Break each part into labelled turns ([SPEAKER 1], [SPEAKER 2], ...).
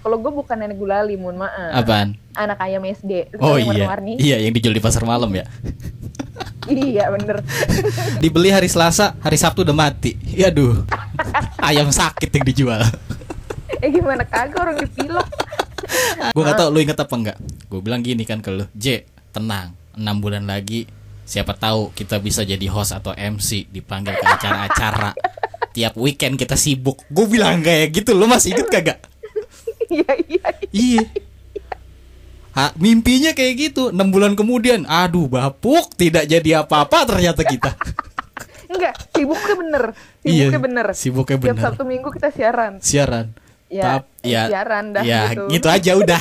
[SPEAKER 1] Kalau gue bukan nenek gulali, mohon maaf.
[SPEAKER 2] Apaan?
[SPEAKER 1] Anak ayam SD.
[SPEAKER 2] Oh
[SPEAKER 1] yang
[SPEAKER 2] iya.
[SPEAKER 1] warna-warni.
[SPEAKER 2] Iya, yang dijual di pasar malam ya.
[SPEAKER 1] iya bener.
[SPEAKER 2] Dibeli hari Selasa, hari Sabtu udah mati. Ya aduh. Ayam sakit yang dijual.
[SPEAKER 1] eh gimana kagak orang dipilok.
[SPEAKER 2] gue gak tau lu inget apa enggak gue bilang gini kan ke lu J tenang 6 bulan lagi siapa tahu kita bisa jadi host atau MC dipanggil ke acara-acara tiap weekend kita sibuk gue bilang kayak gitu lu masih inget kagak
[SPEAKER 1] Iya iya. iya.
[SPEAKER 2] iya Ha, mimpinya kayak gitu 6 bulan kemudian aduh bapuk tidak jadi apa-apa ternyata kita
[SPEAKER 1] Enggak, sibuknya bener. Sibuknya
[SPEAKER 2] Iya,
[SPEAKER 1] bener.
[SPEAKER 2] sibuknya
[SPEAKER 1] Tiap
[SPEAKER 2] bener.
[SPEAKER 1] Sabtu Minggu kita siaran.
[SPEAKER 2] siaran
[SPEAKER 1] Ya,
[SPEAKER 2] Tap- ya
[SPEAKER 1] siaran dah
[SPEAKER 2] ya
[SPEAKER 1] gitu.
[SPEAKER 2] gitu aja udah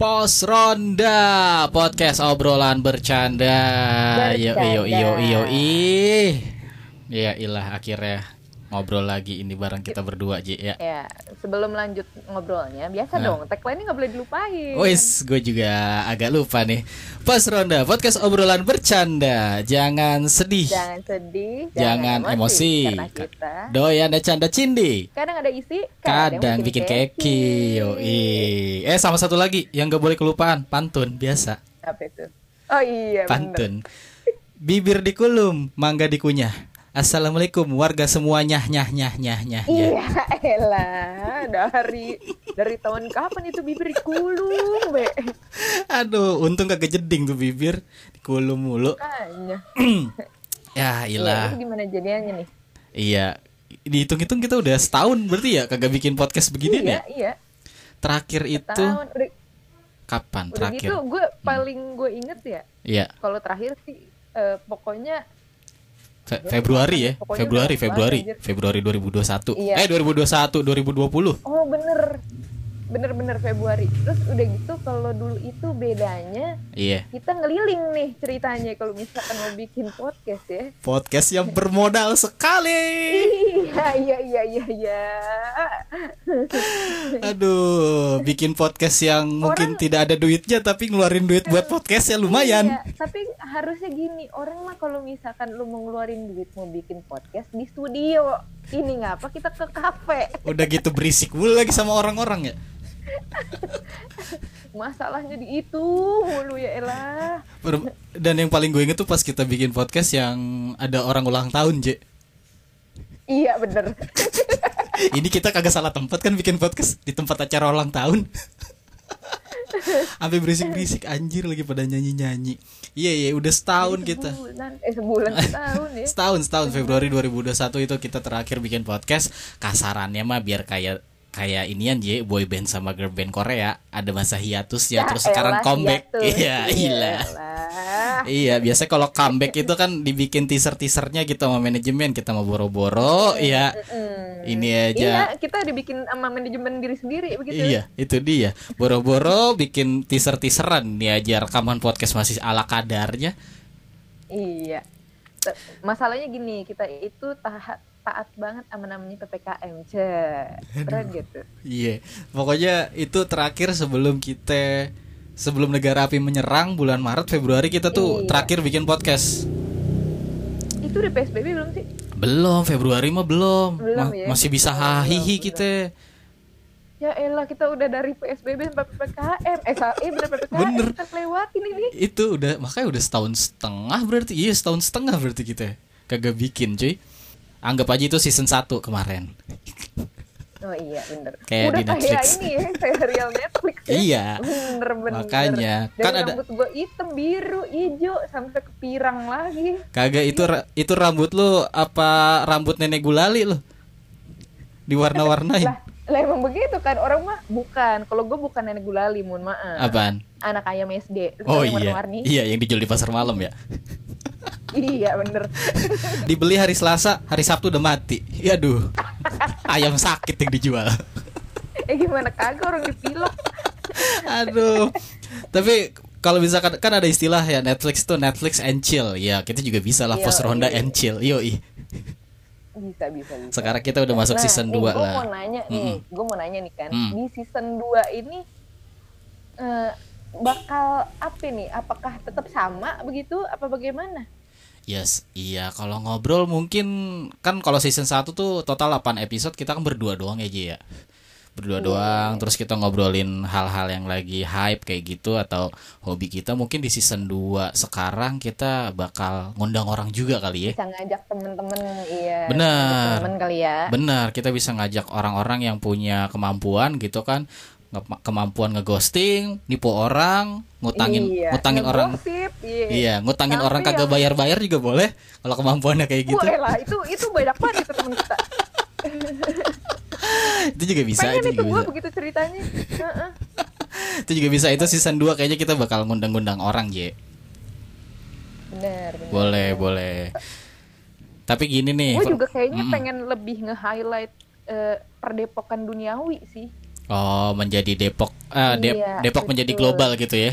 [SPEAKER 2] Pos Ronda Podcast obrolan bercanda Yo yo yo yo ih Ya ilah akhirnya Ngobrol lagi ini bareng kita berdua Ji ya
[SPEAKER 1] Ya, sebelum lanjut ngobrolnya,
[SPEAKER 2] Nah.
[SPEAKER 1] biasa dong. Tagline-nya nggak boleh dilupain.
[SPEAKER 2] Wis, gue juga agak lupa nih Pos Ronda Podcast obrolan bercanda Jangan sedih
[SPEAKER 1] Jangan sedih,
[SPEAKER 2] Jangan, emosi,
[SPEAKER 1] Karena kita
[SPEAKER 2] Doyan dan canda cindi
[SPEAKER 1] kadang ada gitu. isi, yang
[SPEAKER 2] Kadang bikin keki Yoi Eh sama satu lagi Yang gak boleh kelupaan Pantun biasa
[SPEAKER 1] Apa itu? Oh iya, Ya, bener.
[SPEAKER 2] pantun bibir dikulum mangga dikunyah assalamualaikum warga semuanya nyah nyah nyah nyah nyah
[SPEAKER 1] Iya, elah. Dari dari tahun kapan itu bibir dikulung, be?
[SPEAKER 2] aduh untung kagak jeding tuh bibir dikulum mulu
[SPEAKER 1] Tanya.
[SPEAKER 2] ya
[SPEAKER 1] Iya, itu
[SPEAKER 2] ilah
[SPEAKER 1] gimana jadinya nih?
[SPEAKER 2] iya dihitung-hitung kita udah setahun berarti ya kagak bikin podcast begini
[SPEAKER 1] iya,
[SPEAKER 2] ya
[SPEAKER 1] iya.
[SPEAKER 2] terakhir itu
[SPEAKER 1] Tahun udah,
[SPEAKER 2] kapan
[SPEAKER 1] udah gitu,
[SPEAKER 2] terakhir
[SPEAKER 1] gue paling gue inget ya.
[SPEAKER 2] iya
[SPEAKER 1] Kalau terakhir sih, eh, pokoknya
[SPEAKER 2] Fe- Februari ya
[SPEAKER 1] Pokoknya
[SPEAKER 2] Februari
[SPEAKER 1] udah
[SPEAKER 2] Februari
[SPEAKER 1] lama, anjir.
[SPEAKER 2] Februari 2021
[SPEAKER 1] Iya.
[SPEAKER 2] eh 2021 2020
[SPEAKER 1] Oh bener Bener-bener Februari Terus udah gitu kalau dulu itu bedanya
[SPEAKER 2] iya
[SPEAKER 1] Kita ngeliling nih ceritanya Kalau misalkan mau bikin podcast ya
[SPEAKER 2] podcast yang bermodal sekali
[SPEAKER 1] Iya iya iya iya iya
[SPEAKER 2] Aduh, bikin podcast yang mungkin tidak ada duitnya tapi ngeluarin duit buat podcast ya lumayan.
[SPEAKER 1] Iya, Tapi harusnya gini Orang mah kalau misalkan lu mau ngeluarin duit Mau bikin podcast di studio Ini ngapa kita ke kafe
[SPEAKER 2] Udah gitu berisik mulu lagi sama orang-orang ya.
[SPEAKER 1] Masalahnya di itu mulu ya elah
[SPEAKER 2] Ber- Dan yang paling gue inget tuh pas kita bikin podcast yang ada orang ulang tahun, Je.
[SPEAKER 1] Iya bener
[SPEAKER 2] Ini kita kagak salah tempat kan bikin podcast di tempat acara ulang tahun. Sampai berisik-berisik anjir lagi pada nyanyi-nyanyi. Iya iya, udah setahun kita.
[SPEAKER 1] Sebulan, Eh sebulan setahun ya
[SPEAKER 2] setahun setahun Februari 2021 itu kita terakhir bikin podcast kasarannya mah biar kayak kayak inian je boy band sama girl band Korea ada masa
[SPEAKER 1] Ya
[SPEAKER 2] hiatusnya terus
[SPEAKER 1] elah,
[SPEAKER 2] sekarang comeback
[SPEAKER 1] hiatus.
[SPEAKER 2] iya iya
[SPEAKER 1] elah.
[SPEAKER 2] iya biasanya kalau comeback itu kan dibikin teaser teasernya gitu sama manajemen kita mau boro-boro iya ini aja
[SPEAKER 1] Iya, kita dibikin sama manajemen diri sendiri begitu.
[SPEAKER 2] Iya, itu dia. Boro-boro bikin teaser-teaseran nih aja rekaman podcast masih ala kadarnya.
[SPEAKER 1] Iya. T- Masalahnya gini, kita itu taat taat banget sama namanya PPKM, ce. Keren gitu.
[SPEAKER 2] Iya, pokoknya itu terakhir sebelum kita sebelum negara api menyerang bulan Maret Februari kita
[SPEAKER 1] Iya.
[SPEAKER 2] tuh terakhir bikin podcast.
[SPEAKER 1] Itu udah PSBB belum sih?
[SPEAKER 2] Belum Februari mah belum,
[SPEAKER 1] Belum
[SPEAKER 2] Ma-
[SPEAKER 1] ya?
[SPEAKER 2] masih bisa
[SPEAKER 1] Belum,
[SPEAKER 2] hahihi
[SPEAKER 1] belum.
[SPEAKER 2] kita.
[SPEAKER 1] Ya elah, kita udah dari PSBB sampai PPKM. Eh, sa- eh bener PPKM.
[SPEAKER 2] Bener.
[SPEAKER 1] Kita lewatin ini.
[SPEAKER 2] Itu udah makanya udah setahun setengah berarti. Iya, setahun setengah berarti kita kagak bikin, cuy. Anggap aja itu season 1 kemarin.
[SPEAKER 1] Oh iya, bener.
[SPEAKER 2] Kayak
[SPEAKER 1] udah
[SPEAKER 2] di Netflix.
[SPEAKER 1] kayak ini ya, serial Netflix. ya.
[SPEAKER 2] Iya.
[SPEAKER 1] Bener-bener.
[SPEAKER 2] Makanya,
[SPEAKER 1] Dari
[SPEAKER 2] kan ada-
[SPEAKER 1] rambut gue hitam, biru, hijau, sampai ke pirang lagi.
[SPEAKER 2] Kagak itu ra- itu rambut lu apa rambut nenek gulali lu? Diwarna-warnain.
[SPEAKER 1] lah, lah emang begitu kan orang mah bukan kalau gue bukan nenek gulali mohon maaf
[SPEAKER 2] Apaan?
[SPEAKER 1] anak ayam SD Lu
[SPEAKER 2] Oh
[SPEAKER 1] tahu yang
[SPEAKER 2] iya.
[SPEAKER 1] warna-warni?
[SPEAKER 2] Iya, yang dijual di pasar malam ya.
[SPEAKER 1] iya bener
[SPEAKER 2] Dibeli hari Selasa, hari Sabtu udah mati. Ya aduh. Ayam sakit yang dijual.
[SPEAKER 1] eh gimana kagak orang dipilok
[SPEAKER 2] Aduh. Tapi kalau misalkan kan ada istilah ya Netflix tuh Netflix and chill. Ya, kita juga bisa lah post
[SPEAKER 1] Yoi.
[SPEAKER 2] ronda and chill. Yoi.
[SPEAKER 1] bisa bisa bisa
[SPEAKER 2] Sekarang kita udah masuk season 2
[SPEAKER 1] gue
[SPEAKER 2] lah.
[SPEAKER 1] Nah, mau nanya nih gue mau nanya nih kan
[SPEAKER 2] Mm.
[SPEAKER 1] di season 2 ini eh, bakal apa nih apakah tetap sama begitu apa bagaimana
[SPEAKER 2] Yes, iya kalau ngobrol mungkin kan kalau season 1 tuh total 8 episode kita kan berdua doang ya Ji
[SPEAKER 1] Iya.
[SPEAKER 2] ya. berdua doang terus kita ngobrolin hal-hal yang lagi hype kayak gitu atau hobi kita mungkin di season 2 sekarang kita bakal ngundang orang juga kali ya
[SPEAKER 1] bisa ngajak temen-temen iya
[SPEAKER 2] Bener.
[SPEAKER 1] ngajak temen kali ya
[SPEAKER 2] benar kita bisa ngajak orang-orang yang punya kemampuan gitu kan Nge- kemampuan ngeghosting nipu orang ngutangin
[SPEAKER 1] iya.
[SPEAKER 2] ngutangin
[SPEAKER 1] Yang
[SPEAKER 2] orang
[SPEAKER 1] gosip, iya,
[SPEAKER 2] iya ngutangin
[SPEAKER 1] Tapi
[SPEAKER 2] orang kagak
[SPEAKER 1] yang-
[SPEAKER 2] bayar-bayar juga boleh kalau kemampuannya kayak gitu
[SPEAKER 1] Boleh lah, itu itu banyak banget itu temen kita.
[SPEAKER 2] itu juga bisa
[SPEAKER 1] Pengen
[SPEAKER 2] itu
[SPEAKER 1] itu
[SPEAKER 2] juga
[SPEAKER 1] gue
[SPEAKER 2] bisa
[SPEAKER 1] begitu ceritanya. Heeh.
[SPEAKER 2] itu juga bisa itu season 2 kayaknya kita bakal ngundang-ngundang orang je
[SPEAKER 1] Bener, bener.
[SPEAKER 2] boleh boleh tapi gini nih
[SPEAKER 1] Gue
[SPEAKER 2] per-
[SPEAKER 1] juga kayaknya
[SPEAKER 2] Iya, Mm-mm.
[SPEAKER 1] pengen lebih nge-highlight eh, perdepokan duniawi sih.
[SPEAKER 2] oh menjadi Depok ah, Dep-
[SPEAKER 1] Iya,
[SPEAKER 2] Depok menjadi
[SPEAKER 1] betul.
[SPEAKER 2] global gitu ya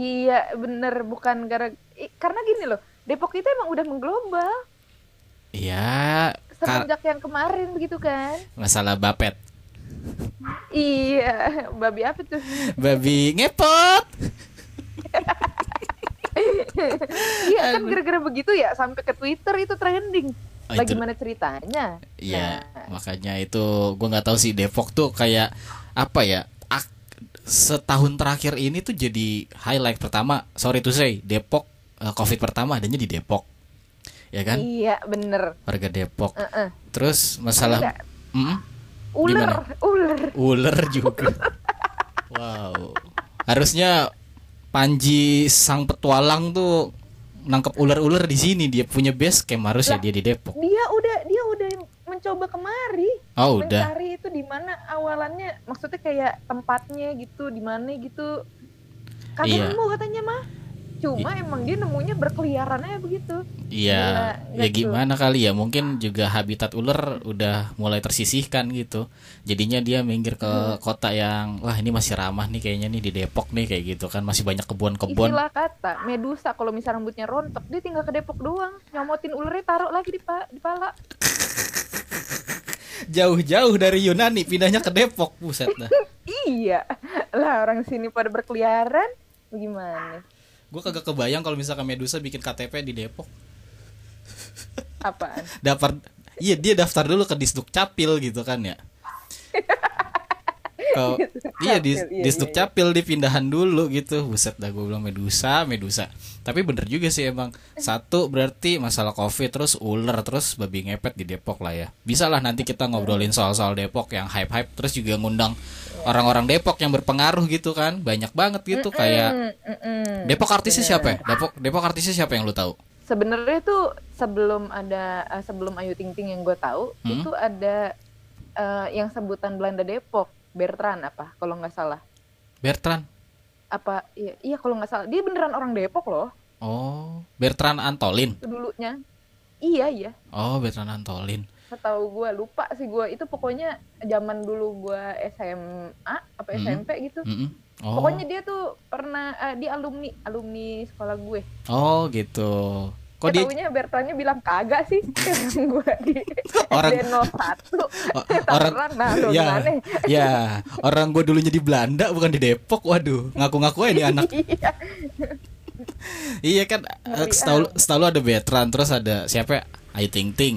[SPEAKER 1] Iya, bener bukan gara eh, karena gini loh. Depok itu emang udah mengglobal
[SPEAKER 2] iya kar-
[SPEAKER 1] semenjak yang kemarin begitu kan?
[SPEAKER 2] masalah bapet
[SPEAKER 1] Iya, babi apa tuh?
[SPEAKER 2] babi ngepot
[SPEAKER 1] Iya kan gara-gara begitu ya sampai ke Twitter itu trending.
[SPEAKER 2] Oh,
[SPEAKER 1] Lah
[SPEAKER 2] itu-
[SPEAKER 1] gimana ceritanya?
[SPEAKER 2] Iya,
[SPEAKER 1] Nah,
[SPEAKER 2] makanya itu gua nggak tahu sih Depok tuh kayak apa ya? ak- setahun terakhir ini tuh jadi highlight pertama. Sorry to say, Depok eh, Covid pertama adanya di Depok. Ya kan?
[SPEAKER 1] Iya, bener.
[SPEAKER 2] Warga Depok.
[SPEAKER 1] Heeh.
[SPEAKER 2] Terus masalah
[SPEAKER 1] Enggak.
[SPEAKER 2] Mm-mm,
[SPEAKER 1] Ular,
[SPEAKER 2] Gimana?
[SPEAKER 1] ular.
[SPEAKER 2] ular juga. wow. Harusnya Panji sang petualang tuh nangkep ular-ular di sini dia punya base camp harusnya dia di Depok.
[SPEAKER 1] Dia udah dia udah mencoba kemari.
[SPEAKER 2] Oh, udah.
[SPEAKER 1] Mencari itu di mana awalannya, maksudnya kayak tempatnya gitu, di mana gitu. Kagak
[SPEAKER 2] Iya.
[SPEAKER 1] nemu katanya mah. Cuma emang dia nemunya berkeliarannya begitu. Gila,
[SPEAKER 2] Iya, ya
[SPEAKER 1] gitu.
[SPEAKER 2] gimana kali ya? Mungkin juga habitat ular udah mulai tersisihkan gitu. Jadinya dia minggir ke kota yang wah ini masih ramah nih kayaknya nih di Depok nih kayak gitu kan masih banyak kebun-kebun.
[SPEAKER 1] Istilah kata Medusa kalau misal rambutnya rontok, dia tinggal ke Depok doang, nyomotin ularnya taruh lagi di, pa- di pala.
[SPEAKER 2] Jauh-jauh dari Yunani pindahnya ke Depok, buset dah.
[SPEAKER 1] Iya. Lah orang sini pada berkeliaran, gimana?
[SPEAKER 2] Gue kagak kebayang kalau misalkan Medusa bikin KTP di Depok.
[SPEAKER 1] Apaan?
[SPEAKER 2] Daftar Iya, dia daftar dulu ke Disduk Capil gitu kan ya. Kalau iya di
[SPEAKER 1] Capil, iya,
[SPEAKER 2] Disduk
[SPEAKER 1] iya,
[SPEAKER 2] Capil dipindahan dulu gitu. Buset dah gue bilang Medusa, Medusa. Tapi bener juga sih emang. Satu berarti masalah Covid terus ular terus babi ngepet di Depok lah ya. Bisa lah nanti
[SPEAKER 1] Iya.
[SPEAKER 2] kita ngobrolin soal-soal Depok yang hype-hype terus juga ngundang orang-orang Depok yang berpengaruh gitu kan. Banyak banget gitu
[SPEAKER 1] Mm,
[SPEAKER 2] kayak
[SPEAKER 1] mm, mm.
[SPEAKER 2] Depok artisnya siapa ya? Depok Depok artisnya siapa yang lu tahu?
[SPEAKER 1] Sebenarnya tuh sebelum ada eh, sebelum Ayu Ting Ting yang gue tahu
[SPEAKER 2] Hmm?
[SPEAKER 1] itu ada eh, yang sebutan Belanda Depok Bertrand apa kalau nggak salah
[SPEAKER 2] Bertrand.
[SPEAKER 1] apa iya, iya kalau nggak salah dia beneran orang Depok loh
[SPEAKER 2] Oh, Bertrand Antolin.
[SPEAKER 1] dulunya iya iya
[SPEAKER 2] Oh, Bertrand Antolin.
[SPEAKER 1] setahu gue lupa sih gue itu pokoknya zaman dulu gue SMA apa
[SPEAKER 2] Hmm.
[SPEAKER 1] SMP gitu
[SPEAKER 2] Mm-mm. Oh.
[SPEAKER 1] pokoknya dia tuh pernah eh, dia alumni alumni sekolah gue
[SPEAKER 2] Oh, gitu. Kok
[SPEAKER 1] Kok
[SPEAKER 2] dia
[SPEAKER 1] taunya Bertrandnya bilang kagak sih gue di
[SPEAKER 2] Orang-
[SPEAKER 1] SD 01
[SPEAKER 2] o-
[SPEAKER 1] orang
[SPEAKER 2] orang
[SPEAKER 1] nah lu
[SPEAKER 2] ya,
[SPEAKER 1] gimana?
[SPEAKER 2] ya, orang gue dulunya di Belanda bukan di Depok. Waduh, ngaku-ngaku aja ini anak.
[SPEAKER 1] Iya.
[SPEAKER 2] iya kan, eh,
[SPEAKER 1] Ngeri
[SPEAKER 2] setahu setahu lu ada Bertrand, terus ada siapa? ya? Ayu Ting Ting.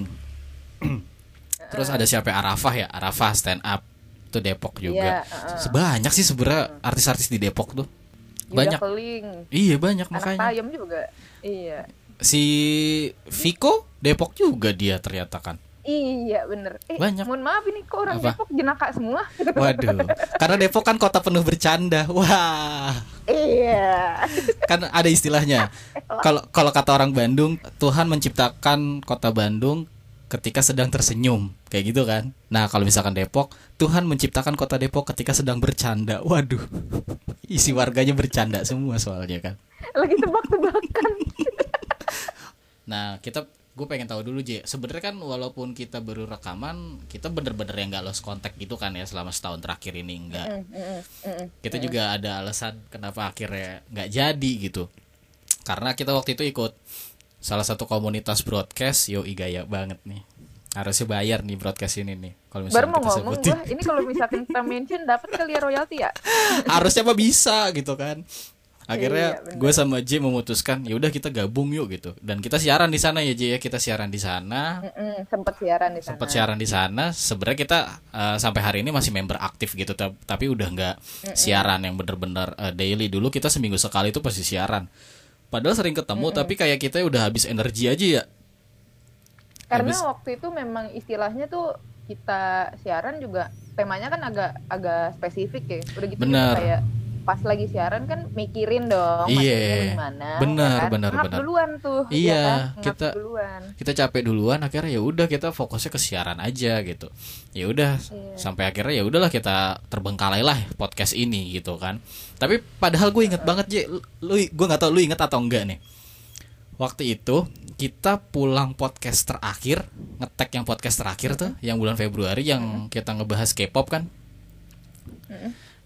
[SPEAKER 2] terus ada siapa? ya? Arafah ya, Arafah stand up. Itu Depok
[SPEAKER 1] Iya,
[SPEAKER 2] juga.
[SPEAKER 1] heeh.
[SPEAKER 2] Sebanyak sih sebenarnya artis-artis di Depok tuh.
[SPEAKER 1] Yuda
[SPEAKER 2] Banyak.
[SPEAKER 1] Keling,
[SPEAKER 2] Iya, banyak
[SPEAKER 1] anak
[SPEAKER 2] makanya.
[SPEAKER 1] tayam juga. Iya.
[SPEAKER 2] Si Viko Depok juga dia ternyata kan.
[SPEAKER 1] Iya bener eh,
[SPEAKER 2] Banyak.
[SPEAKER 1] Mohon maaf ini kok orang
[SPEAKER 2] Apa?
[SPEAKER 1] Depok jenaka semua
[SPEAKER 2] Waduh, karena Depok kan kota penuh bercanda. Wah,
[SPEAKER 1] Iya
[SPEAKER 2] kan ada istilahnya. Kalau kalau kata orang Bandung, Tuhan menciptakan kota Bandung ketika sedang tersenyum, kayak gitu kan. Nah, kalau misalkan Depok, Tuhan menciptakan kota Depok ketika sedang bercanda. Waduh, isi warganya bercanda semua soalnya kan.
[SPEAKER 1] Lagi tebak-tebakan
[SPEAKER 2] Nah, kita gue pengen tahu dulu J. Sebenarnya kan walaupun kita baru rekaman, kita bener-bener yang nggak lost contact gitu kan ya selama setahun terakhir ini enggak.
[SPEAKER 1] Mm, mm, mm, mm.
[SPEAKER 2] kita juga ada alasan kenapa akhirnya nggak jadi gitu karena kita waktu itu ikut salah satu komunitas broadcast yo gaya banget nih harusnya bayar nih broadcast ini nih
[SPEAKER 1] Baru
[SPEAKER 2] kalau misalnya
[SPEAKER 1] mau
[SPEAKER 2] kita
[SPEAKER 1] ngomong
[SPEAKER 2] sebutin
[SPEAKER 1] gue Ini kalau misalkan kita mention dapat kali ya royalti ya
[SPEAKER 2] harusnya mah bisa gitu kan akhirnya
[SPEAKER 1] Iya, bener.
[SPEAKER 2] gue sama J memutuskan ya udah kita gabung yuk gitu dan kita siaran di sana ya J ya kita siaran di sana
[SPEAKER 1] Mm-mm, sempet siaran di sana.
[SPEAKER 2] sempat siaran di sana sebenarnya kita eh, sampai hari ini masih member aktif gitu ta- tapi udah nggak siaran yang bener-bener eh, daily dulu kita seminggu sekali itu pasti siaran padahal sering ketemu tapi kayak kita udah habis energi aja ya
[SPEAKER 1] Karena
[SPEAKER 2] Habis-
[SPEAKER 1] waktu itu memang istilahnya tuh kita siaran juga temanya kan agak agak spesifik ya. Udah gitu kita
[SPEAKER 2] Bener.
[SPEAKER 1] kayak pas lagi siaran kan mikirin dong
[SPEAKER 2] Iya.
[SPEAKER 1] materinya gimana.
[SPEAKER 2] Bener,
[SPEAKER 1] ya kan?
[SPEAKER 2] bener,
[SPEAKER 1] Ngap
[SPEAKER 2] bener.
[SPEAKER 1] duluan tuh. ya
[SPEAKER 2] Iya,
[SPEAKER 1] kan? Ngap
[SPEAKER 2] kita-
[SPEAKER 1] duluan.
[SPEAKER 2] kita capek duluan akhirnya ya udah kita fokusnya ke siaran aja gitu ya udah sampai akhirnya ya udahlah kita terbengkalai lah podcast ini gitu kan tapi padahal gue inget banget Ji Lu- lu gue nggak tahu lu inget atau enggak nih waktu itu kita pulang podcast terakhir ngetek yang podcast terakhir tuh yang bulan Februari yang kita ngebahas K-pop kan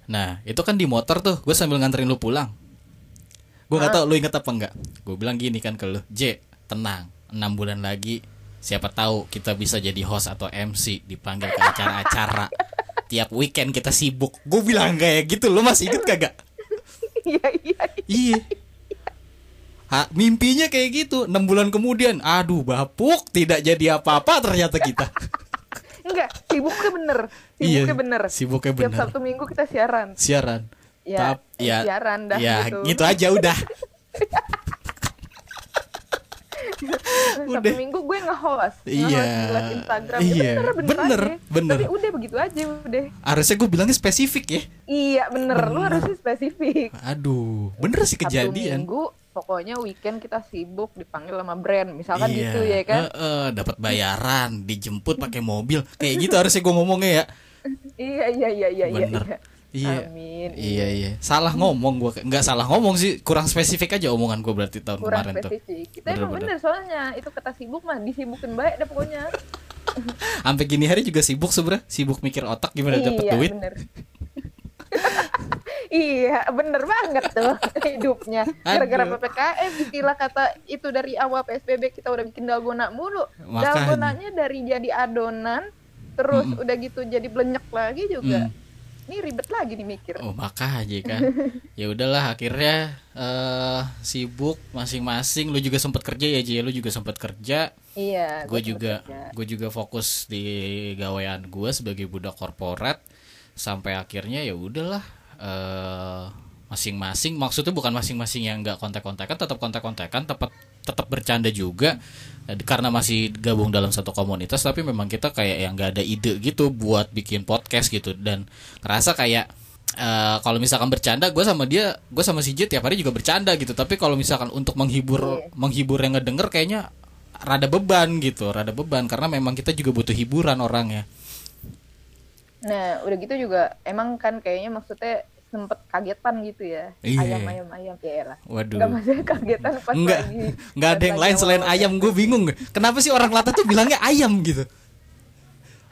[SPEAKER 2] nah itu kan di motor tuh gue sambil nganterin lu pulang gue nggak tahu lu inget apa enggak gue bilang gini kan ke lu J tenang enam bulan lagi siapa tahu kita bisa jadi host atau MC dipanggil ke acara-acara tiap weekend kita sibuk gue bilang kayak gitu lu masih inget kagak
[SPEAKER 1] Iya, iya.
[SPEAKER 2] Iya. Ha, mimpinya kayak gitu. 6 bulan kemudian, aduh bapuk, tidak jadi apa-apa ternyata kita.
[SPEAKER 1] Enggak, sibuknya bener. Sibuknya bener.
[SPEAKER 2] Iya, Sibuknya
[SPEAKER 1] Tiap
[SPEAKER 2] benar.
[SPEAKER 1] Sabtu Minggu kita siaran.
[SPEAKER 2] Siaran.
[SPEAKER 1] Ya,
[SPEAKER 2] Tap- ya,
[SPEAKER 1] siaran dah
[SPEAKER 2] ya,
[SPEAKER 1] gitu.
[SPEAKER 2] aja udah.
[SPEAKER 1] Sabtu
[SPEAKER 2] Udah.
[SPEAKER 1] Minggu gue nge-host,
[SPEAKER 2] Iya.
[SPEAKER 1] nge-host di live Instagram.
[SPEAKER 2] Iya,
[SPEAKER 1] Ya bener, bener,
[SPEAKER 2] bener,
[SPEAKER 1] aja.
[SPEAKER 2] bener.
[SPEAKER 1] Tapi udah begitu aja udah.
[SPEAKER 2] Harusnya gue bilangnya spesifik ya.
[SPEAKER 1] Iya, bener. Lu harusnya spesifik.
[SPEAKER 2] Aduh, bener sih
[SPEAKER 1] Sabtu
[SPEAKER 2] kejadian.
[SPEAKER 1] minggu pokoknya weekend kita sibuk dipanggil sama brand misalkan
[SPEAKER 2] Iya,
[SPEAKER 1] gitu ya kan
[SPEAKER 2] eh, eh, dapat bayaran, dijemput pakai mobil, kayak gitu harusnya gue ngomongnya ya.
[SPEAKER 1] iya iya iya iya iya,
[SPEAKER 2] Bener.
[SPEAKER 1] iya
[SPEAKER 2] Iya.
[SPEAKER 1] amin
[SPEAKER 2] Iya iya, salah ngomong gue, nggak salah ngomong sih, kurang spesifik aja omongan gue berarti tahun
[SPEAKER 1] kurang
[SPEAKER 2] kemarin tuh.
[SPEAKER 1] spesifik kita emang
[SPEAKER 2] Bener-bener.
[SPEAKER 1] bener soalnya itu kata sibuk mah disibukin baik dah pokoknya
[SPEAKER 2] Sampai gini hari juga sibuk sebenernya Sibuk mikir otak gimana dapet
[SPEAKER 1] iya
[SPEAKER 2] duit
[SPEAKER 1] bener iya bener banget tuh hidupnya gara-gara
[SPEAKER 2] Aduh.
[SPEAKER 1] ppkm istilah kata itu dari awal psbb kita udah bikin dalgona mulu
[SPEAKER 2] Makanya.
[SPEAKER 1] dalgonanya dari jadi adonan terus udah gitu jadi blenyek lagi juga ini
[SPEAKER 2] Mm.
[SPEAKER 1] ribet lagi dimikir
[SPEAKER 2] Oh makanya kan Ya udahlah akhirnya eh Sibuk masing-masing Lu juga sempet kerja ya Ji Lu juga sempet kerja
[SPEAKER 1] Iya, gua
[SPEAKER 2] Gue juga
[SPEAKER 1] sempet kerja.
[SPEAKER 2] Gue juga fokus di gawean gue Sebagai budak korporat Sampai akhirnya ya udahlah eh masing-masing maksudnya bukan masing-masing yang nggak kontak-kontakan tetap kontak-kontakan tetap tetap bercanda juga Eh, karena masih gabung dalam satu komunitas tapi memang kita kayak yang nggak ada ide gitu buat bikin podcast gitu dan ngerasa kayak eh, kalau misalkan bercanda gue sama dia gue sama si J tiap hari juga bercanda gitu tapi kalau misalkan untuk menghibur menghibur yang ngedenger kayaknya rada beban gitu rada beban karena memang kita juga butuh hiburan orangnya
[SPEAKER 1] Nah, udah gitu juga emang kan kayaknya maksudnya sempet kagetan gitu ya.
[SPEAKER 2] Iya.
[SPEAKER 1] Ayam ayam ayam ya lah.
[SPEAKER 2] waduh
[SPEAKER 1] Enggak maksudnya kagetan pas
[SPEAKER 2] Enggak,
[SPEAKER 1] lagi.
[SPEAKER 2] enggak ada
[SPEAKER 1] pas
[SPEAKER 2] yang
[SPEAKER 1] lagi
[SPEAKER 2] lain selain
[SPEAKER 1] awal-awal.
[SPEAKER 2] ayam. Gue bingung, kenapa sih orang Lata tuh bilangnya ayam gitu?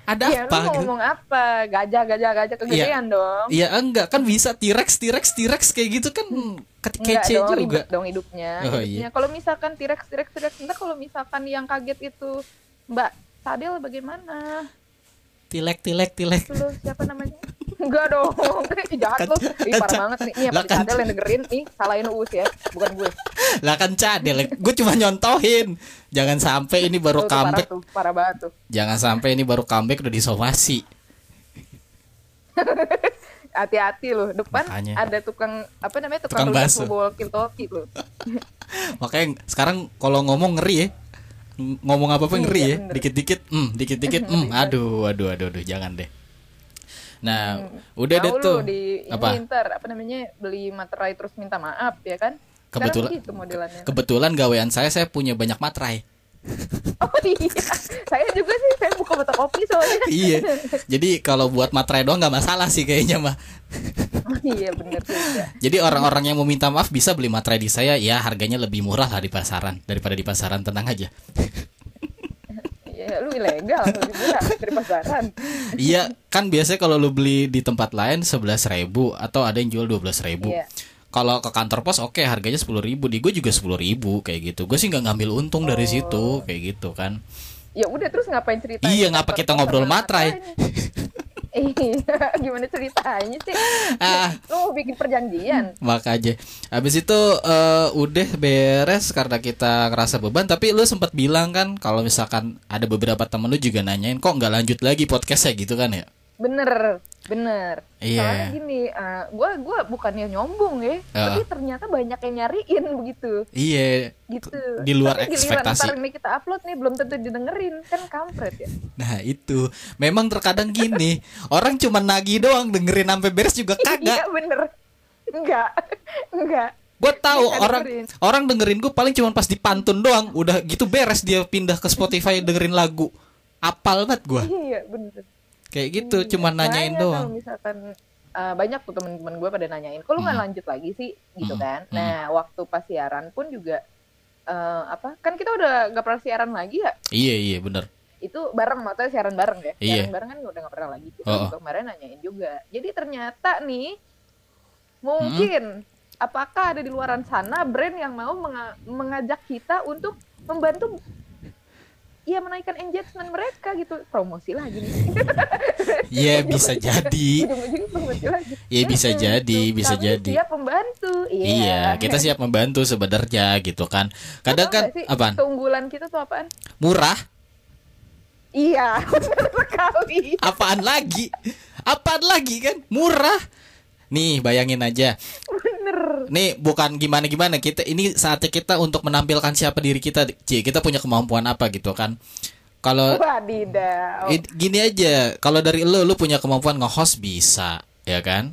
[SPEAKER 2] Ada
[SPEAKER 1] Iya, lu
[SPEAKER 2] apa?
[SPEAKER 1] mau
[SPEAKER 2] gitu?
[SPEAKER 1] ngomong apa? Gajah, gajah, gajah kegedean dong.
[SPEAKER 2] Iya, enggak kan bisa T-Rex, T-Rex, T-Rex kayak gitu kan ke-
[SPEAKER 1] Enggak
[SPEAKER 2] kece
[SPEAKER 1] dong,
[SPEAKER 2] juga.
[SPEAKER 1] ribet dong hidupnya.
[SPEAKER 2] Oh, iya.
[SPEAKER 1] hidupnya. Kalau misalkan T-Rex, T-Rex, T-Rex, entar kalau misalkan yang kaget itu Mbak Sadel bagaimana?
[SPEAKER 2] Tilek, tilek, tilek.
[SPEAKER 1] Lu siapa namanya? Enggak dong. Ih, jahat lu. Ih, parah
[SPEAKER 2] Kaca-
[SPEAKER 1] banget nih. Ini
[SPEAKER 2] Lah,
[SPEAKER 1] apa
[SPEAKER 2] kan-
[SPEAKER 1] Sadel yang dengerin? Nih, salahin Uus ya, bukan gue.
[SPEAKER 2] Lah kan cadel, gue cuma nyontohin. Jangan sampai ini
[SPEAKER 1] Tuh, tuh,
[SPEAKER 2] baru
[SPEAKER 1] parah
[SPEAKER 2] comeback,
[SPEAKER 1] tuh, parah banget tuh.
[SPEAKER 2] jangan sampai ini baru comeback udah disomasi.
[SPEAKER 1] hati-hati loh depan
[SPEAKER 2] Makanya.
[SPEAKER 1] ada tukang apa namanya
[SPEAKER 2] Tukang
[SPEAKER 1] tukang,
[SPEAKER 2] bakso.
[SPEAKER 1] bakso bol kintoki loh
[SPEAKER 2] Makanya sekarang kalau ngomong ngeri ya. Ng- Ngomong apa-apa ngeri ya.
[SPEAKER 1] Iya, bener.
[SPEAKER 2] Dikit-dikit, hmm, dikit-dikit, hmm, aduh, aduh, aduh, aduh, jangan deh. Nah, udah deh
[SPEAKER 1] Hmm. Tahu lu
[SPEAKER 2] tuh.
[SPEAKER 1] di ini
[SPEAKER 2] apa?
[SPEAKER 1] ntar, apa namanya beli materai terus minta maaf ya kan Sekarang
[SPEAKER 2] Kebetulan-
[SPEAKER 1] gitu modelannya
[SPEAKER 2] Kebetulan gawean saya saya punya banyak materai.
[SPEAKER 1] oh iya saya juga sih saya buka mata kopi soalnya
[SPEAKER 2] iya. Jadi kalau buat materai doang nggak masalah sih kayaknya mah.
[SPEAKER 1] oh, iya bener juga
[SPEAKER 2] Jadi orang-orang yang mau minta maaf bisa beli materai di saya ya harganya lebih murah lah di pasaran daripada di pasaran tenang aja.
[SPEAKER 1] ya lu ilegal lu juga dari pasaran
[SPEAKER 2] iya, kan biasanya kalau lu beli di tempat lain 11.000 atau ada yang jual 12.000.
[SPEAKER 1] Iya.
[SPEAKER 2] Kalau ke kantor pos oke harganya 10.000 di gue juga 10.000 kayak gitu. Gue sih nggak ngambil untung dari situ kayak gitu kan.
[SPEAKER 1] ya udah terus ngapain cerita
[SPEAKER 2] Iya, ngapa kita ngobrol materai?
[SPEAKER 1] Iya, gimana ceritanya sih?
[SPEAKER 2] Ah.
[SPEAKER 1] Lu bikin perjanjian.
[SPEAKER 2] Maka aja. Habis itu eh, udah beres karena kita ngerasa beban. Tapi lu sempat bilang kan kalau misalkan ada beberapa temen lu juga nanyain kok nggak lanjut lagi podcastnya gitu kan ya?
[SPEAKER 1] Bener, bener.
[SPEAKER 2] Iya.
[SPEAKER 1] Soalnya gini, eh, gua gue bukannya nyombong ya, tapi ternyata banyak yang nyariin begitu.
[SPEAKER 2] Iya.
[SPEAKER 1] Gitu.
[SPEAKER 2] Di luar
[SPEAKER 1] Tapi giliran
[SPEAKER 2] ekspektasi.
[SPEAKER 1] Ntar ini kita upload nih, belum tentu didengerin. Kan kampret ya.
[SPEAKER 2] Nah itu memang terkadang gini orang cuma nagih doang dengerin sampai beres juga
[SPEAKER 1] Iya
[SPEAKER 2] kagak.
[SPEAKER 1] bener. Enggak, enggak.
[SPEAKER 2] Gue tahu
[SPEAKER 1] Nggak
[SPEAKER 2] orang
[SPEAKER 1] Iya, dengerin.
[SPEAKER 2] orang dengerin gue paling cuma pas dipantun doang. Udah gitu beres dia pindah ke Spotify dengerin lagu. Apal banget gue
[SPEAKER 1] Iya bener.
[SPEAKER 2] kayak gitu
[SPEAKER 1] Iya,
[SPEAKER 2] cuma nanyain
[SPEAKER 1] Makanya
[SPEAKER 2] doang.
[SPEAKER 1] Kalau misalkan eh, banyak tuh temen-temen gue pada nanyain, kok lu nggak
[SPEAKER 2] Hmm.
[SPEAKER 1] lanjut lagi sih, gitu
[SPEAKER 2] Hmm,
[SPEAKER 1] kan?
[SPEAKER 2] hmm.
[SPEAKER 1] Nah, waktu pas siaran pun juga eh, apa? Kan kita udah gak pernah siaran lagi ya?
[SPEAKER 2] Iya iya bener.
[SPEAKER 1] Itu bareng, maksudnya siaran bareng ya?
[SPEAKER 2] Iya.
[SPEAKER 1] Siaran bareng kan udah gak pernah lagi. Kita
[SPEAKER 2] Oh, oh.
[SPEAKER 1] juga kemarin nanyain juga. Jadi ternyata nih mungkin apakah ada di luaran sana brand yang mau menga- mengajak kita untuk membantu Iya menaikkan engagement mereka gitu promosi lagi nih
[SPEAKER 2] Iya bisa jadi.
[SPEAKER 1] ujung-ujungnya pembantu lagi.
[SPEAKER 2] Iya, bisa
[SPEAKER 1] Mm-mm,
[SPEAKER 2] jadi,
[SPEAKER 1] gitu.
[SPEAKER 2] bisa
[SPEAKER 1] Kami
[SPEAKER 2] jadi.
[SPEAKER 1] siap membantu. Iya.
[SPEAKER 2] Iya, kita siap membantu sebenarnya gitu kan.
[SPEAKER 1] Tau
[SPEAKER 2] Kadang
[SPEAKER 1] nggak
[SPEAKER 2] kan
[SPEAKER 1] sih,
[SPEAKER 2] apaan?
[SPEAKER 1] Keunggulan kita tuh apaan?
[SPEAKER 2] Murah,
[SPEAKER 1] Iya, benar sekali.
[SPEAKER 2] apaan lagi? Apaan lagi kan? Murah. Nih, bayangin aja.
[SPEAKER 1] Bener.
[SPEAKER 2] Nih, bukan gimana-gimana. Kita ini saatnya kita untuk menampilkan siapa diri kita. Ci, kita punya kemampuan apa gitu kan. Kalau
[SPEAKER 1] Wadidaw.
[SPEAKER 2] i- gini aja, kalau dari lo lu punya kemampuan nge-host bisa, ya kan?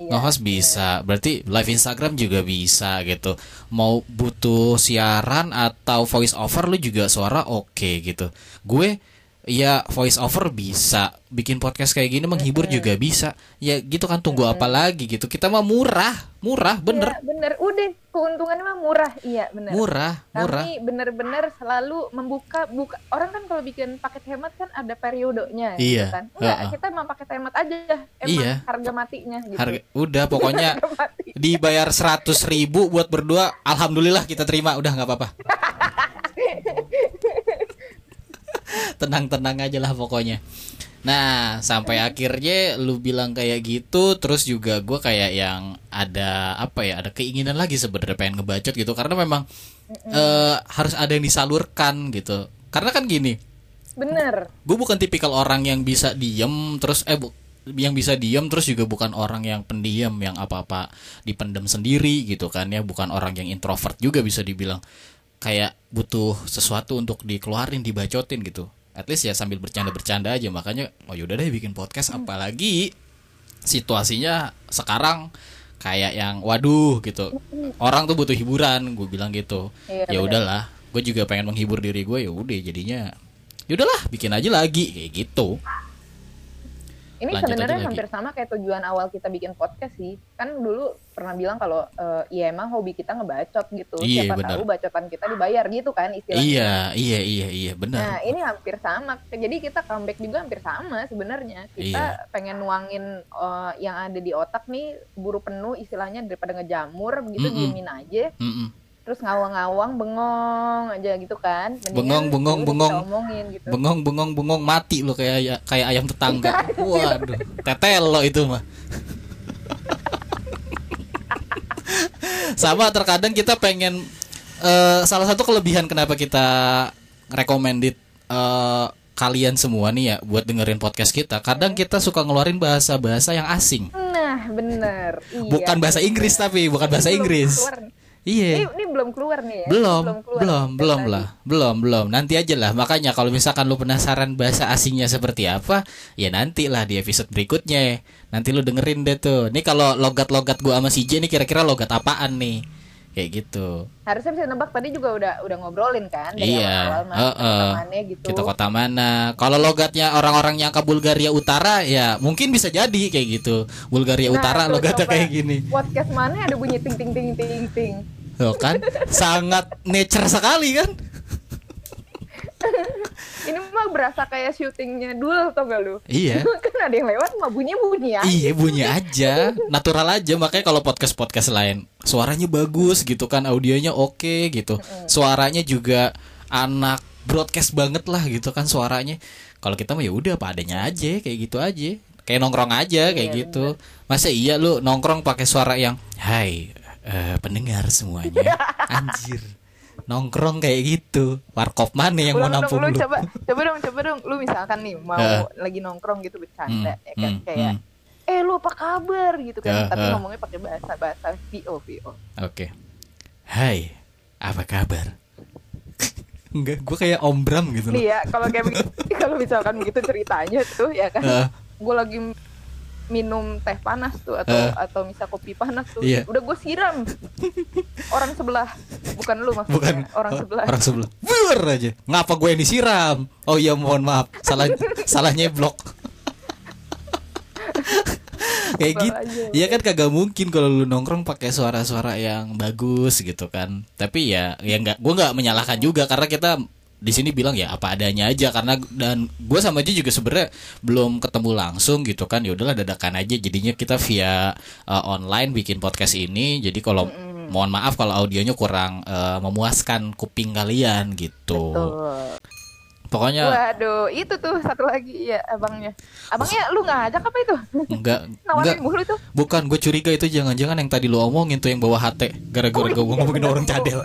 [SPEAKER 1] Iya.
[SPEAKER 2] Nge-host bisa, berarti live Instagram juga bisa gitu. Mau butuh siaran atau voice over lu juga suara oke gitu. Gue ya voice over bisa, bikin podcast kayak gini menghibur juga bisa. Ya gitu kan tunggu apa lagi gitu. Kita mah murah, murah bener.
[SPEAKER 1] Iya, bener. Udah, keuntungannya mah murah. Iya, bener.
[SPEAKER 2] Murah, murah.
[SPEAKER 1] Kami gitu. bener-bener selalu membuka buka orang kan kalau bikin paket hemat kan ada periodenya
[SPEAKER 2] Iya.
[SPEAKER 1] gitu kan. Enggak,
[SPEAKER 2] Heeh.
[SPEAKER 1] kita emang paket hemat aja emang
[SPEAKER 2] Iya.
[SPEAKER 1] harga matinya gitu.
[SPEAKER 2] Harga udah pokoknya
[SPEAKER 1] Harga mati.
[SPEAKER 2] dibayar 100.000 ribu buat berdua, alhamdulillah kita terima, udah nggak apa-apa. Tenang-tenang aja lah pokoknya. Nah, sampai akhirnya lu bilang kayak gitu, terus juga gue kayak yang ada apa ya, ada keinginan lagi sebenarnya pengen ngebacot gitu, karena memang eh, harus ada yang disalurkan gitu. Karena kan gini,
[SPEAKER 1] Bener.
[SPEAKER 2] gue bukan tipikal orang yang bisa diem terus eh bu- yang bisa diem terus juga bukan orang yang pendiam yang apa-apa dipendem sendiri gitu kan ya bukan orang yang introvert juga bisa dibilang kayak butuh sesuatu untuk dikeluarin dibacotin gitu at least ya sambil bercanda-bercanda aja makanya oh yaudah deh bikin podcast apalagi situasinya sekarang kayak yang waduh gitu orang tuh butuh hiburan gue bilang gitu
[SPEAKER 1] Iya,
[SPEAKER 2] ya
[SPEAKER 1] benar.
[SPEAKER 2] udahlah gue juga pengen menghibur diri gue ya udah jadinya ya udahlah bikin aja lagi kayak gitu
[SPEAKER 1] Ini
[SPEAKER 2] Lanjut
[SPEAKER 1] sebenarnya
[SPEAKER 2] aja lagi.
[SPEAKER 1] hampir sama kayak tujuan awal kita bikin podcast sih. Kan dulu pernah bilang kalau eh, ya emang hobi kita ngebacot gitu.
[SPEAKER 2] Iya,
[SPEAKER 1] Siapa
[SPEAKER 2] benar.
[SPEAKER 1] tahu bacotan kita dibayar gitu kan istilahnya.
[SPEAKER 2] iya iya iya iya
[SPEAKER 1] Nah,
[SPEAKER 2] benar
[SPEAKER 1] ini hampir sama. Jadi kita comeback juga hampir sama sebenarnya.
[SPEAKER 2] Iya.
[SPEAKER 1] Kita pengen nuangin eh, yang ada di otak nih buru penuh istilahnya daripada ngejamur begitu
[SPEAKER 2] Mm-mm.
[SPEAKER 1] diemin aja
[SPEAKER 2] Mm-mm.
[SPEAKER 1] terus ngawang-ngawang bengong aja gitu kan. Mendingan ini
[SPEAKER 2] Bengong, bengong,
[SPEAKER 1] kita
[SPEAKER 2] bengong.
[SPEAKER 1] omongin gitu.
[SPEAKER 2] bengong bengong bengong mati lo kayak ay- kayak ayam tetangga waduh tetel lo itu mah sama terkadang kita pengen eh, salah satu kelebihan kenapa kita recommended eh, kalian semua nih ya buat dengerin podcast kita kadang kita suka ngeluarin bahasa-bahasa yang asing
[SPEAKER 1] Nah, bener. Iya.
[SPEAKER 2] bukan bahasa Inggris tapi bukan bahasa
[SPEAKER 1] Belum
[SPEAKER 2] Inggris
[SPEAKER 1] keluar nih. Eh,
[SPEAKER 2] iya
[SPEAKER 1] Ini, ini belum keluar nih ya?
[SPEAKER 2] belum
[SPEAKER 1] keluar.
[SPEAKER 2] belum
[SPEAKER 1] Dari
[SPEAKER 2] belum
[SPEAKER 1] tadi.
[SPEAKER 2] lah belum belum nanti aja lah makanya kalau misalkan lu penasaran bahasa asingnya seperti apa ya nanti lah di episode berikutnya nanti lu dengerin deh tuh ini kalau logat-logat gua sama si J nih kira-kira logat apaan nih kayak gitu
[SPEAKER 1] Harusnya bisa nebak tadi juga udah udah ngobrolin kan dari
[SPEAKER 2] iya
[SPEAKER 1] awal-awal mah,
[SPEAKER 2] heeh.
[SPEAKER 1] teman-temannya gitu.
[SPEAKER 2] kita kota mana kalau logatnya orang-orang yang ke Bulgaria Utara ya mungkin bisa jadi kayak gitu Bulgaria
[SPEAKER 1] Nah,
[SPEAKER 2] Utara
[SPEAKER 1] tuh,
[SPEAKER 2] logatnya
[SPEAKER 1] coba.
[SPEAKER 2] kayak gini
[SPEAKER 1] Podcast mana ada bunyi ting ting ting ting ting.
[SPEAKER 2] Loh kan sangat nature sekali kan
[SPEAKER 1] Ini mah berasa kayak syutingnya dulu tau gak lu?
[SPEAKER 2] iya
[SPEAKER 1] kan ada yang lewat mah bunyinya bunyi ya.
[SPEAKER 2] Iya bunyi aja, natural aja makanya kalau podcast podcast lain suaranya bagus gitu kan, audionya oke gitu, suaranya juga anak broadcast banget lah gitu kan suaranya. Kalau kita mah ya udah apa adanya aja kayak gitu aja. Kayak nongkrong aja kayak
[SPEAKER 1] Iya,
[SPEAKER 2] gitu. Masa iya lu nongkrong pakai suara yang hai eh, pendengar semuanya. Anjir. Nongkrong kayak gitu. Warkop mana yang mau
[SPEAKER 1] Ulang dong,
[SPEAKER 2] nampung
[SPEAKER 1] lu
[SPEAKER 2] lu?
[SPEAKER 1] coba coba dong coba dong lu misalkan nih mau
[SPEAKER 2] Heeh.
[SPEAKER 1] lagi nongkrong gitu bercanda
[SPEAKER 2] Hmm,
[SPEAKER 1] ya kan
[SPEAKER 2] hmm,
[SPEAKER 1] kayak
[SPEAKER 2] hmm.
[SPEAKER 1] eh lu apa kabar gitu
[SPEAKER 2] Heeh,
[SPEAKER 1] kan tapi
[SPEAKER 2] heeh.
[SPEAKER 1] ngomongnya pakai bahasa bahasa VO VO
[SPEAKER 2] Oke. Hai, apa kabar? Enggak, gue kayak Om Bram gitu loh.
[SPEAKER 1] nih ya kalau kayak begitu kalau misalkan begitu ceritanya tuh ya kan
[SPEAKER 2] Heeh.
[SPEAKER 1] gue lagi minum teh panas tuh atau
[SPEAKER 2] Heeh.
[SPEAKER 1] atau misal kopi panas tuh
[SPEAKER 2] Iya.
[SPEAKER 1] udah gue siram orang sebelah bukan lu maksudnya
[SPEAKER 2] Bukan
[SPEAKER 1] orang sebelah
[SPEAKER 2] Orang sebelah. Buar aja. Ngapa gue yang disiram? Oh iya mohon maaf. Salah salahnya blok. Kayak
[SPEAKER 1] Blok
[SPEAKER 2] gitu.
[SPEAKER 1] aja.
[SPEAKER 2] Iya kan kagak mungkin kalau lu nongkrong pakai suara-suara yang bagus gitu kan. Tapi ya ya nggak gue nggak menyalahkan juga karena kita di sini bilang ya apa adanya aja karena dan gue sama dia juga sebenarnya belum ketemu langsung gitu kan ya udahlah dadakan aja jadinya kita via uh, online bikin podcast ini jadi kalau mohon maaf kalau audionya kurang uh, memuaskan kuping kalian gitu
[SPEAKER 1] Tuh.
[SPEAKER 2] pokoknya
[SPEAKER 1] Waduh, itu tuh satu lagi ya abangnya. Abangnya lu ngajak apa itu?
[SPEAKER 2] enggak enggak
[SPEAKER 1] Nawarin mulu tuh.
[SPEAKER 2] bukan gue curiga itu jangan-jangan yang tadi lu omongin tuh yang bawa hati gara-gara
[SPEAKER 1] Oh,
[SPEAKER 2] gue
[SPEAKER 1] iya,
[SPEAKER 2] ngomongin
[SPEAKER 1] bener.
[SPEAKER 2] orang cadel